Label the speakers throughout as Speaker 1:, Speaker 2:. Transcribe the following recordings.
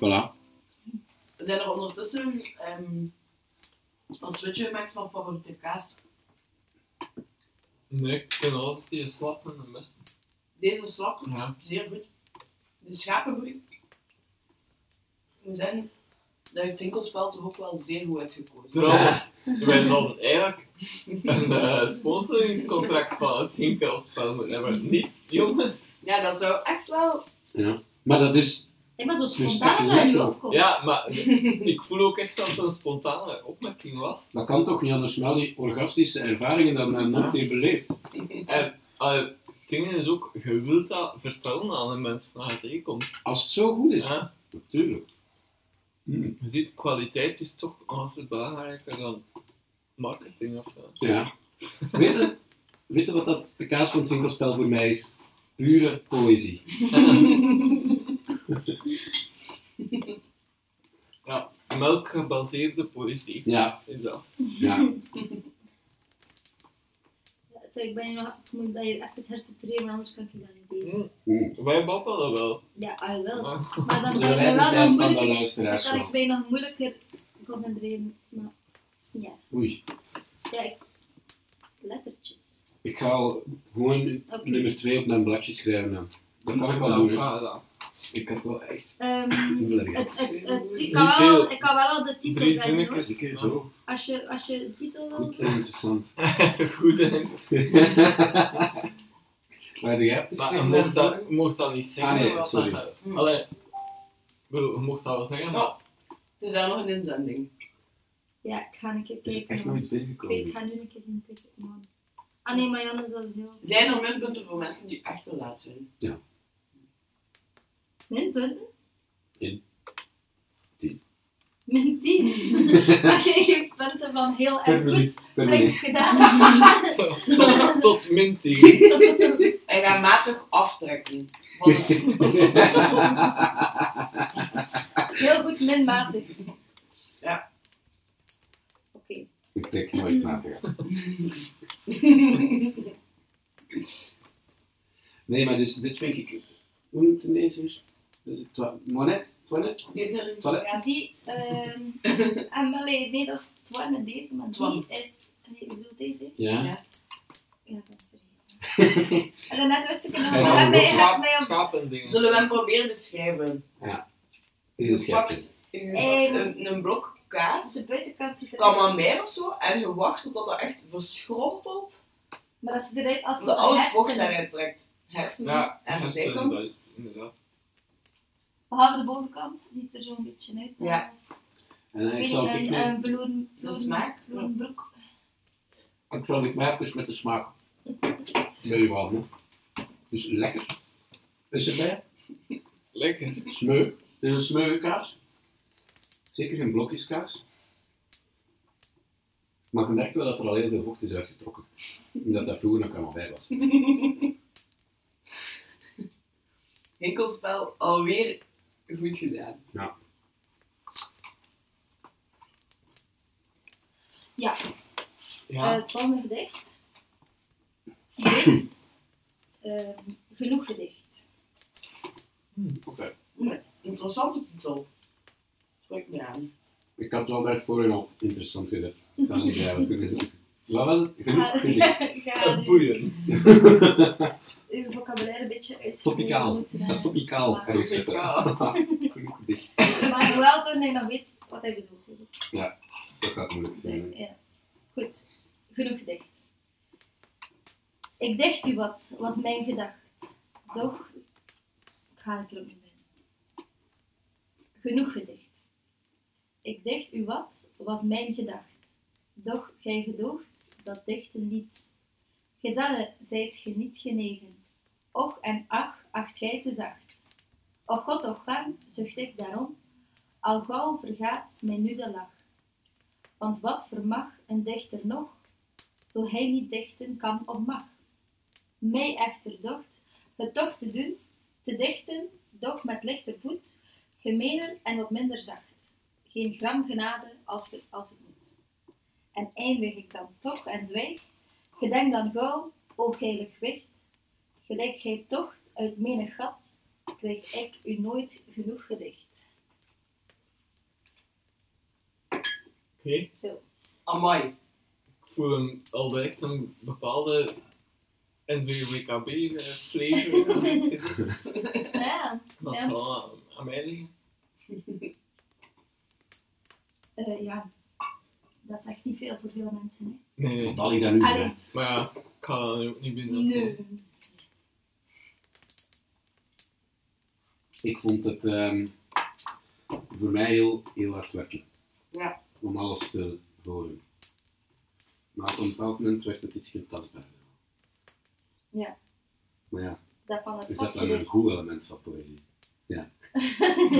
Speaker 1: Voilà.
Speaker 2: We zijn er ondertussen ehm, een switch gemaakt van favoriete kaas.
Speaker 3: Nee, ik ken altijd die slappen en de mist.
Speaker 2: Deze is slap,
Speaker 3: Ja.
Speaker 2: zeer goed. De schapenbroek. Ik moet zeggen, daar heeft Tinkelspel toch ook wel zeer goed uitgekozen.
Speaker 3: Trouwens, wij zouden eigenlijk een eh, sponsoringscontract van het Hinkelspel moeten hebben. Niet, jongens.
Speaker 2: Ja, dat zou echt wel...
Speaker 1: Maar dat is...
Speaker 4: Ik ben zo
Speaker 1: Dus
Speaker 4: spontaan
Speaker 1: pak
Speaker 4: dat
Speaker 1: je
Speaker 4: je nu
Speaker 1: lekker.
Speaker 4: opkomt.
Speaker 3: Ja, maar ik voel ook echt dat het een spontane opmerking was.
Speaker 1: Dat kan toch niet anders wel die orgastische ervaringen dat men nog niet beleeft.
Speaker 3: Allee, eh, het ding is ook, je wilt dat vertellen aan de mensen dat je tegenkomt.
Speaker 1: Als het zo goed is.
Speaker 3: Ja?
Speaker 1: Natuurlijk. Hm.
Speaker 3: Je ziet, kwaliteit is toch altijd belangrijker dan marketing of zo.
Speaker 1: Ja. Weet je, weet je wat dat de kaas van het winkelspel voor mij is? Pure poëzie.
Speaker 3: Ja, melk gebaseerde politiek
Speaker 1: Ja,
Speaker 3: is dat.
Speaker 1: ja.
Speaker 4: Zo, ik ben hier nog, ik moet dat hier even herstructureren, anders kan ik je dat niet lezen.
Speaker 3: Hm?
Speaker 1: Oeh.
Speaker 3: Wij babbelen wel.
Speaker 4: Ja, ah, wel.
Speaker 3: Maar,
Speaker 4: Maar dan
Speaker 1: Zo
Speaker 4: kan ik
Speaker 1: wij
Speaker 4: me
Speaker 1: de
Speaker 4: wel nog
Speaker 1: tijd van de
Speaker 4: moeilijker, dan
Speaker 1: luisteraars
Speaker 4: kan ik
Speaker 1: nog.
Speaker 4: mij nog moeilijker concentreren. Maar het is niet erg.
Speaker 1: Oei.
Speaker 4: Ja, ik... Lettertjes.
Speaker 1: Ik ga al gewoon
Speaker 4: Oké.
Speaker 1: nummer 2 op mijn bladje schrijven. dan. Dat kan ik wel
Speaker 3: Ja,
Speaker 1: doen, hè.
Speaker 3: ja, ja.
Speaker 1: Ik heb wel echt...
Speaker 4: Ehm,
Speaker 1: Hoeveel heb je?
Speaker 4: het, het, het, ik,
Speaker 3: Niet
Speaker 4: kan wel,
Speaker 3: veel.
Speaker 4: al- ik kan wel al de titel
Speaker 3: Drie
Speaker 4: zeggen hoor.
Speaker 3: zinnetjes.
Speaker 1: Een keer zo.
Speaker 4: Als je, als je de titel wil.
Speaker 1: Goed en interessant.
Speaker 3: Goed, hè.
Speaker 1: Maar jij hebt
Speaker 3: Maar je
Speaker 1: geen
Speaker 3: mocht dat,
Speaker 1: woord.
Speaker 3: je mocht dat niet zeggen.
Speaker 1: Ah, nee,
Speaker 3: wat
Speaker 1: sorry.
Speaker 3: dat-
Speaker 2: Hm.
Speaker 3: Allee, ik bedoel, je mocht dat wel zeggen, maar...
Speaker 2: Ja. Het is daar nog een inzending.
Speaker 4: Ja, ik ga een keer
Speaker 1: Er is
Speaker 4: kijken.
Speaker 1: echt nog
Speaker 4: want
Speaker 1: iets
Speaker 4: Ik weet, ik
Speaker 1: binnengekomen.
Speaker 4: ga nu een keer zien kijken. man. Ah nee, maar Jan is dat is heel...
Speaker 2: Zijn er minpunten voor mensen die echt te laat zijn?
Speaker 4: Min punten?
Speaker 1: Tien. Tien.
Speaker 4: Min tien? Dan krijg je punten van heel
Speaker 1: Per
Speaker 4: erg
Speaker 1: minuut,
Speaker 4: goed.
Speaker 1: per
Speaker 4: Flink
Speaker 1: minuut.
Speaker 4: gedaan.
Speaker 3: Tot, tot, tot min 10.
Speaker 2: Hij gaat matig aftrekken. Van de-
Speaker 4: Heel goed, minmatig.
Speaker 2: Ja.
Speaker 4: Oké.
Speaker 1: Ik denk nooit na te gaan. Nee, maar dus dit vind ik... Hoe noemt het deze weer? Dus het twa- Monet? Toilet?
Speaker 2: Deze
Speaker 1: Toilet?
Speaker 2: kaas...
Speaker 4: Die, ehm en allee, nee, dat is Twan en deze, maar
Speaker 2: Twan.
Speaker 4: die is, je bedoelt deze? hè?
Speaker 1: Ja.
Speaker 4: Ja, dat is vergeten. en daarnet wist ik het nog,
Speaker 1: Hij is
Speaker 4: maar
Speaker 1: al
Speaker 4: ik ben- ik
Speaker 3: Schaap,
Speaker 4: ben mij op
Speaker 3: schapen dingen.
Speaker 2: Zullen we hem proberen beschrijven?
Speaker 1: Heel
Speaker 2: Je
Speaker 1: scherp.
Speaker 2: pakt je pakt een, een blok kaas,
Speaker 4: de buitenkant zit eruit.
Speaker 2: camembert of zo, en je wacht totdat dat echt verschrompelt,
Speaker 4: Maar dat ziet eruit als
Speaker 2: als al het vocht
Speaker 4: hersenen.
Speaker 2: daaruit trekt. Hersenen
Speaker 3: Ja,
Speaker 2: aan de
Speaker 3: dat is, eh,
Speaker 2: zijkant.
Speaker 3: dat is het, inderdaad.
Speaker 4: Behalve de bovenkant, ziet er zo'n beetje uit.
Speaker 2: Ja.
Speaker 4: Dat is-
Speaker 1: En eh, ik
Speaker 4: Weet
Speaker 1: zal
Speaker 4: je,
Speaker 1: ik
Speaker 4: een,
Speaker 1: mee-
Speaker 4: een verloren,
Speaker 2: De
Speaker 4: verloren,
Speaker 2: smaak.
Speaker 4: verloren broek.
Speaker 1: Ik zal ik mij even met de smaak. Wil je wel, hè? Dus lekker. Is erbij.
Speaker 3: Lekker.
Speaker 1: Smeuk. Het is een smeukaas. Zeker geen blokjeskaas. Maar je merkt wel dat er al heel veel vocht is uitgetrokken. Omdat dat vroeger nog allemaal bij was.
Speaker 2: Hinkelspel alweer goed gedaan.
Speaker 4: Eh,
Speaker 3: Ja,
Speaker 4: het volgende eh, gedicht. Dit. eh, genoeg gedicht.
Speaker 1: Oké.
Speaker 2: Goed. Interessante titel. Spreek me aan.
Speaker 1: Ik had het al bij het vorige al interessant gezet. Ik kan niet eigenlijk kunnen zeggen. Wat was het?
Speaker 4: Ah.
Speaker 1: Genoeg gedicht.
Speaker 4: Ga nu
Speaker 3: boeien.
Speaker 4: uw vocabulaire een beetje eh, uit.
Speaker 1: Topicaal. Ja, topicaal
Speaker 4: Ah,
Speaker 1: ergens zetten.
Speaker 3: Topicaal.
Speaker 1: Genoeg gedicht.
Speaker 4: Maar hoewel zo dat hij nog weet wat hij bedoelt. hè.
Speaker 1: Dat gaat moeilijk zijn. hè.
Speaker 4: Ja. Goed, genoeg gedicht. Ik dicht u wat, was mijn gedacht. Doch, ik ga het er ook niet bij. Genoeg gedicht. Ik dicht u wat, was mijn gedacht. Doch, gij gedoogt dat dichten niet. Gezellen zijt ge niet genegen. Och en ach, acht gij te zacht. Och God, och warm, zucht ik daarom. Al gauw vergaat mij nu de lach. Want wat vermag een dichter nog, zo hij niet dichten kan of mag? Mij echter docht, het toch te doen, te dichten, doch met lichter voet, gemener en wat minder zacht. Geen gram genade als, ge- als het moet. En eindig ik dan toch en zwijg, gedenk dan gauw, o heilig wicht, gelijk gij tocht uit menig gat, krijg ik u nooit genoeg gedicht.
Speaker 3: Ik
Speaker 4: Zo.
Speaker 2: Amai.
Speaker 3: voel hem al direct een bepaalde eh, NVWKB-flavor.
Speaker 4: Ja,
Speaker 3: Dat
Speaker 4: Ja.
Speaker 3: is wel aan, aan mij liggen.
Speaker 4: eh, ja. Dat is echt niet veel voor veel mensen. Hè.
Speaker 3: Nee, nee.
Speaker 1: Want al die daar nu
Speaker 4: Allee.
Speaker 1: zijn.
Speaker 3: Maar ja, ik ga dat nu ook niet binnen.
Speaker 4: Nee.
Speaker 1: Ik vond het ehm, voor mij heel, heel hard werken.
Speaker 2: Ja.
Speaker 1: Om alles te horen. Maar op een bepaald moment werd het iets getastbaarder.
Speaker 4: Ja.
Speaker 1: Maar ja,
Speaker 4: Dat van het
Speaker 1: is dat dan
Speaker 4: schatje.
Speaker 1: een goed element van poëzie?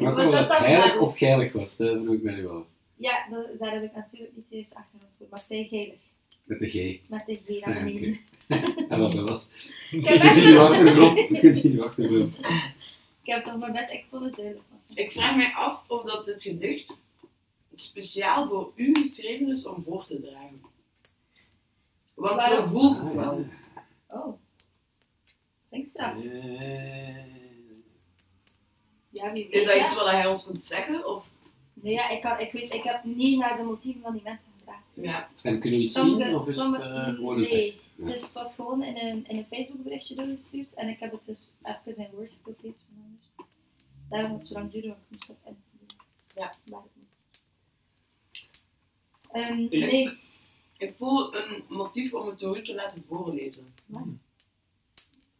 Speaker 1: Maar
Speaker 4: Was
Speaker 1: of
Speaker 4: dat
Speaker 1: dat
Speaker 4: dat
Speaker 1: heilig
Speaker 4: maar-
Speaker 1: of geilig was, dat vroeg ik mij nu wel af.
Speaker 4: Ja, da- daar heb ik natuurlijk niet juist achtergrond voor. Maar zij gelig.
Speaker 1: Met de G.
Speaker 4: Met de G
Speaker 1: Ah,
Speaker 4: daar beneden.
Speaker 1: En wat dat was.
Speaker 4: Ik heb
Speaker 1: Je ziet uw
Speaker 4: echt-
Speaker 1: achtergrond. Je ziet uw achtergrond.
Speaker 4: Ik heb toch mijn best, ik vond het duidelijk.
Speaker 2: Ik vraag mij af of dat het gedicht speciaal voor u geschreven is om voor te dragen. Want zo
Speaker 4: Waarom?
Speaker 2: voelt het wel.
Speaker 1: nou.
Speaker 4: Oh. Drinkstraf.
Speaker 1: Eh,
Speaker 4: Ja, wie weet.
Speaker 2: Is dat
Speaker 4: ja.
Speaker 2: iets wat hij ons moet zeggen? Of...
Speaker 4: Nee, ja, ik, kan, ik, weet, ik heb niet naar de motieven van die mensen gevraagd.
Speaker 2: Ja.
Speaker 1: En kunnen we iets zien of is het eh, gewoon een
Speaker 4: nee.
Speaker 1: tekst? Ja.
Speaker 4: Dus het was gewoon in een, in een Facebook berichtje doorgestuurd en ik heb het dus even in Word gekopieerd van anders. Daarom dat het zo lang duurde, want ik moest dat in doen.
Speaker 2: Ja.
Speaker 4: Waar het moest. Ehm,
Speaker 3: Ja.
Speaker 4: nee,
Speaker 2: Ik voel een motief om het door u te laten voorlezen.
Speaker 4: Ja.
Speaker 2: Oké.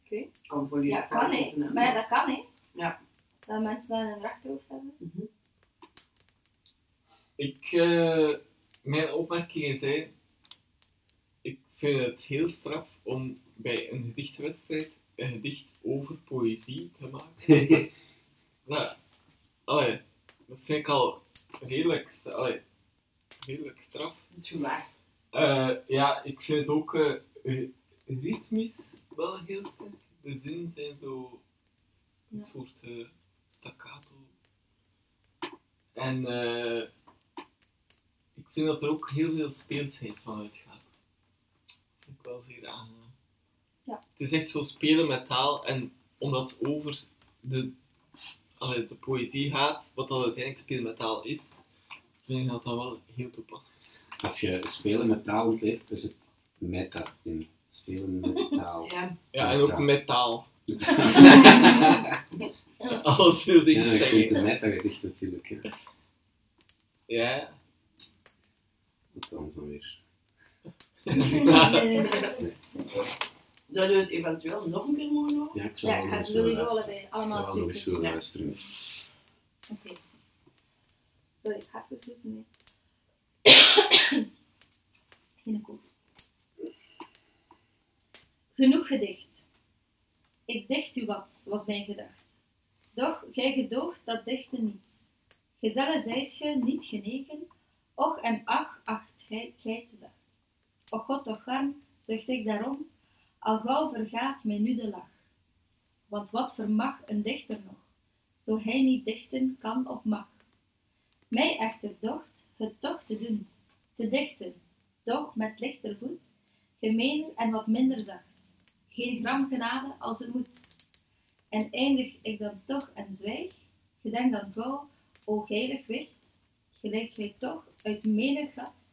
Speaker 4: Oké.
Speaker 2: Hmm. Kan voor jullie
Speaker 4: ja, kan hè.
Speaker 2: zitten, hè.
Speaker 4: Maar ja, dat kan hè.
Speaker 2: Ja.
Speaker 4: Dat mensen dat in hun achterhoofd hebben.
Speaker 2: Mhm.
Speaker 3: Ik, eh, mijn opmerkingen zijn, ik vind het heel straf om bij een gedichtwedstrijd een gedicht over poëzie te maken. nou, allee, dat vind ik al redelijk, st- allee, redelijk straf.
Speaker 2: Het is gemaakt.
Speaker 3: Eh, ja, ik vind ook eh, eh, ritmisch wel heel sterk. De zinnen zijn zo een
Speaker 4: Ja.
Speaker 3: soort eh, staccato. En eh, ik vind dat er ook heel veel speelsheid van uitgaat. Vind ik wel zeer aangenaam.
Speaker 4: Ja.
Speaker 3: Het is echt zo spelen met taal en omdat het over de, allee, de poëzie gaat, wat dan uiteindelijk spelen met taal is, vind ik dat dat wel heel toepasselijk.
Speaker 1: Als je spelen met taal ontleedt, er zit meta in. Spelen met taal.
Speaker 2: Ja.
Speaker 3: Ja, en ook
Speaker 1: Ja.
Speaker 3: met taal.
Speaker 1: ja,
Speaker 3: Alles wilde ik
Speaker 1: dat komt
Speaker 3: zeggen.
Speaker 1: de meta-gedicht natuurlijk. Hè.
Speaker 3: Ja.
Speaker 1: Dat anders dan weer.
Speaker 2: Zouden we het eventueel nog een keer mogen horen?
Speaker 1: Ja, ik zou
Speaker 4: ja, ik
Speaker 1: wel
Speaker 4: ga
Speaker 1: eens
Speaker 4: ze
Speaker 1: willen
Speaker 4: sowieso
Speaker 1: luisteren.
Speaker 4: allebei,
Speaker 1: Ik zou
Speaker 4: allemaal
Speaker 1: wel
Speaker 4: twee
Speaker 1: nog eens
Speaker 4: keer.
Speaker 1: willen
Speaker 2: Ja.
Speaker 1: luisteren.
Speaker 4: Oké. Sorry, ik ga even hoesten. hè. Geen koop. Genoeg gedicht. Ik dicht u wat, was mijn gedacht. Doch gij gedoogt dat dichten niet. Gezellen zijt ge niet genegen, och en ach acht gij, gij te zacht. Och god, och arm, zucht ik daarom, al gauw vergaat mij nu de lach. Want wat vermag een dichter nog? zo hij niet dichten kan of mag. Mij echter docht het toch te doen, te dichten, doch met lichter voet, gemener en wat minder zacht, geen gram genade als het moet. En eindig ik dan toch en zwijg, gedenk dan gauw, o heilig wicht, gelijk gij toch uit menig gat,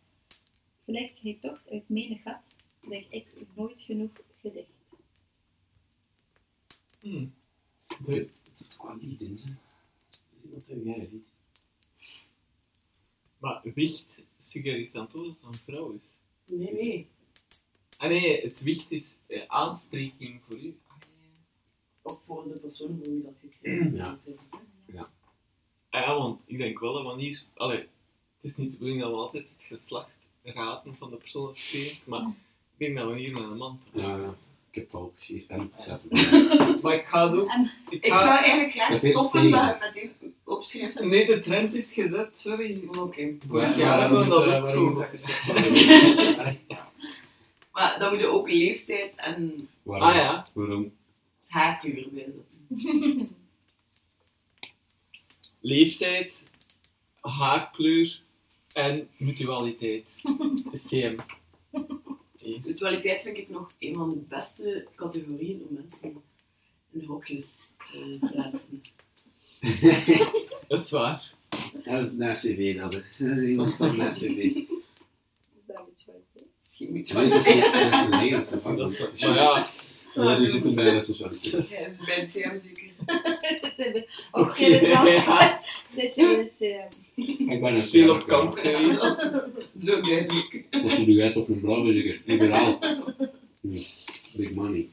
Speaker 4: gelijk gij toch uit menig gat, krijg ik u nooit genoeg gedicht.
Speaker 3: Hm. De-
Speaker 1: Het het kwam niet in, hè. Is iemand dat jij ziet?
Speaker 3: maar wicht suggereert dan toch dat het een vrouw is?
Speaker 2: Nee, nee.
Speaker 3: Ah nee, het wicht is eh, aanspreking voor u. Ah, ja.
Speaker 2: Of voor de persoon voor wie dat geschreven is.
Speaker 1: Ja.
Speaker 3: Ah ja, want ik denk wel dat wanneer... Allee, het is niet de bedoeling dat we altijd het geslacht raden van de persoon dat spreekt, maar ik denk dat we hier met een man te maken
Speaker 1: Ja, ja. ik heb het al gezien. En het staat erbij.
Speaker 3: hebben. Maar ik ga het ook...
Speaker 4: En-
Speaker 3: Ik
Speaker 2: Ik
Speaker 3: ga...
Speaker 2: zou eigenlijk graag
Speaker 1: Ah. Dat is
Speaker 2: stoppen
Speaker 1: tegen.
Speaker 2: met, met die opschrift.
Speaker 3: Nee, de trend is gezet, sorry.
Speaker 2: Oh, Oké.
Speaker 3: Vorig
Speaker 1: Ja,
Speaker 3: jaar hebben we
Speaker 1: waarom
Speaker 3: dat
Speaker 1: moet,
Speaker 3: ook
Speaker 1: eh,
Speaker 3: zo...
Speaker 1: waarom moet
Speaker 2: Maar dan moet je ook leeftijd en
Speaker 1: Waarom?
Speaker 3: Ah ja.
Speaker 1: Waarom?
Speaker 2: haarkleur bezig.
Speaker 3: Leeftijd, haarkleur en mutualiteit. CM.
Speaker 2: Mutualiteit vind ik nog een van de beste categorieën om mensen in hokjes te plaatsen.
Speaker 3: Dat is waar.
Speaker 1: Dat is na cv dat, hè. Dat is constant na cv.
Speaker 5: Dat moet je wel doen.
Speaker 1: Misschien moet je wel eens een Nederlands
Speaker 3: Maar
Speaker 1: ervan
Speaker 3: dat is- maar ja,
Speaker 1: Ja, die zitten bijna zo zacht.
Speaker 2: Ja, is bij de CM zeker.
Speaker 4: Och, helemaal.
Speaker 3: ja,
Speaker 4: Dat je eens... eh,
Speaker 6: Ik ben een
Speaker 3: veel op kamp geweest.
Speaker 2: Zo duidelijk.
Speaker 6: Als je nu uit op een blauwe zeker. Liberaal. Hm, Big money.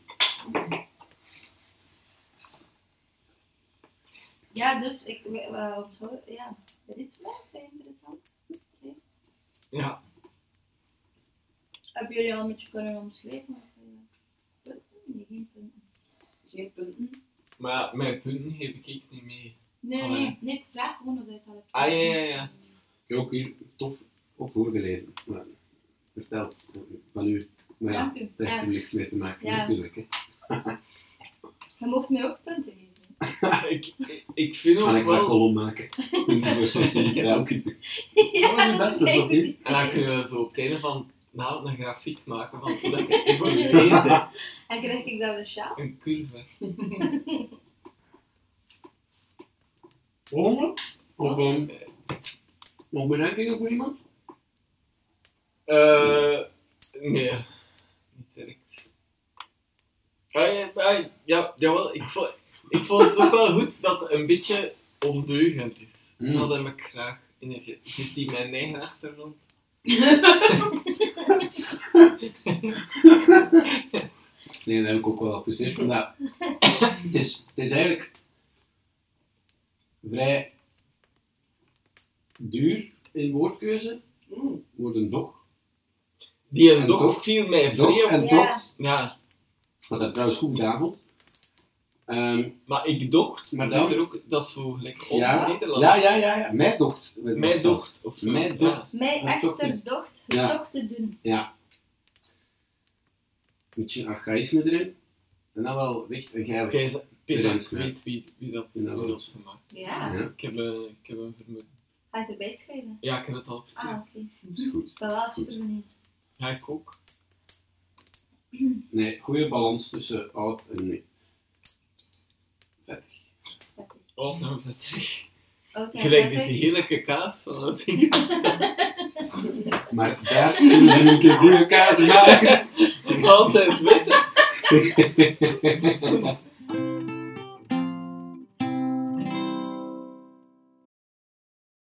Speaker 4: Ja, dus ik... we- we- wat hoor- Ja, dit is wel vrij interessant.
Speaker 3: Ja,
Speaker 4: Hebben jullie al een beetje kunnen omschrijven? wat, eh, punten? Nee, geen punten.
Speaker 2: Geen punten.
Speaker 3: maar ja, mijn punten geef ik echt niet mee.
Speaker 4: Nee,
Speaker 3: Oh,
Speaker 4: nee,
Speaker 3: ja.
Speaker 4: nee, ik vraag gewoon of dat al
Speaker 3: Ah, ja, ja, ja.
Speaker 1: Ik heb ook hier tof op voorgelezen. Maar verteld van u. Maar ja,
Speaker 4: Dank u.
Speaker 1: dat heeft
Speaker 4: Ja,
Speaker 1: er niks mee te maken
Speaker 4: Ja.
Speaker 1: natuurlijk. Hè.
Speaker 4: je mocht mij ook punten geven.
Speaker 3: Ik, ik vind
Speaker 1: Kan
Speaker 3: ook
Speaker 1: ik dat
Speaker 3: wel...
Speaker 1: kolom maken? Voor Sophie. Ja, ook.
Speaker 4: Ja,
Speaker 1: je best,
Speaker 4: dat is
Speaker 1: Sophie.
Speaker 4: eigenlijk-
Speaker 3: En dan kunnen we zo op het einde van de avond een grafiek maken van hoe dat je evolueerde.
Speaker 4: En krijg ik dan een sjaal?
Speaker 3: Een curve.
Speaker 6: Ronde? Of
Speaker 3: ehm,
Speaker 6: um, nog bedenkingen voor iemand?
Speaker 3: Eh nee, niet direct. Ah, ja, ah, ja, jawel, ik vond, ik vond het ook wel goed dat het een beetje ondeugend is.
Speaker 1: Hmm.
Speaker 3: Dat heb ik graag in de ge- Je ziet mijn eigen achtergrond.
Speaker 1: Nee, dat heb ik ook wel geapprecieerd. Maar het, is, het is eigenlijk vrij duur in woordkeuze.
Speaker 2: Mm.
Speaker 1: Wordt een doch.
Speaker 3: Die een
Speaker 1: En
Speaker 3: doch
Speaker 1: toch-
Speaker 3: viel mij vrij
Speaker 1: Doch
Speaker 3: op.
Speaker 1: en
Speaker 4: Ja.
Speaker 1: docht.
Speaker 3: Ja,
Speaker 1: Wat dat trouwens goed gedaan vond. Ehm,
Speaker 3: maar ik docht,
Speaker 1: Maar
Speaker 3: maar
Speaker 1: dan-
Speaker 3: dat, er ook, dat is zo gelijk ons
Speaker 1: Ja.
Speaker 3: Nederlands.
Speaker 1: ja, ja, ja, ja. Mijn docht.
Speaker 3: Mijn docht, of zo.
Speaker 1: Mijn
Speaker 3: Ja.
Speaker 1: docht.
Speaker 4: Mij
Speaker 1: Maar toch
Speaker 4: achterdocht,
Speaker 1: Ja.
Speaker 4: gedocht te doen.
Speaker 1: Een beetje archaïsme erin. En dan wel echt een geil.
Speaker 3: Kijk, ze- Peter,
Speaker 1: Bedankt,
Speaker 3: ik
Speaker 1: ja.
Speaker 3: weet wie, wie dat
Speaker 1: Ja, dat
Speaker 3: heeft
Speaker 1: was-
Speaker 3: opgemaakt.
Speaker 4: Ja,
Speaker 1: Ja,
Speaker 3: Ik heb, eh, ik heb een vermoeden.
Speaker 4: ga je het erbij schrijven?
Speaker 3: Ja, ik heb het al opgeschreven.
Speaker 4: Ah, oké.
Speaker 1: is goed.
Speaker 4: Ik ben wel super benieuwd.
Speaker 3: Ja, ik ook.
Speaker 1: Nee, goede balans tussen oud en nieuw. Vettig.
Speaker 3: Oh, dan vertrek.
Speaker 4: Oké,
Speaker 3: Gelijk
Speaker 4: dat
Speaker 3: deze
Speaker 4: is-
Speaker 3: heerlijke kaas van dat ding.
Speaker 1: Maar daar kunnen ze een keer goede kaas maken.
Speaker 3: Altijd witte.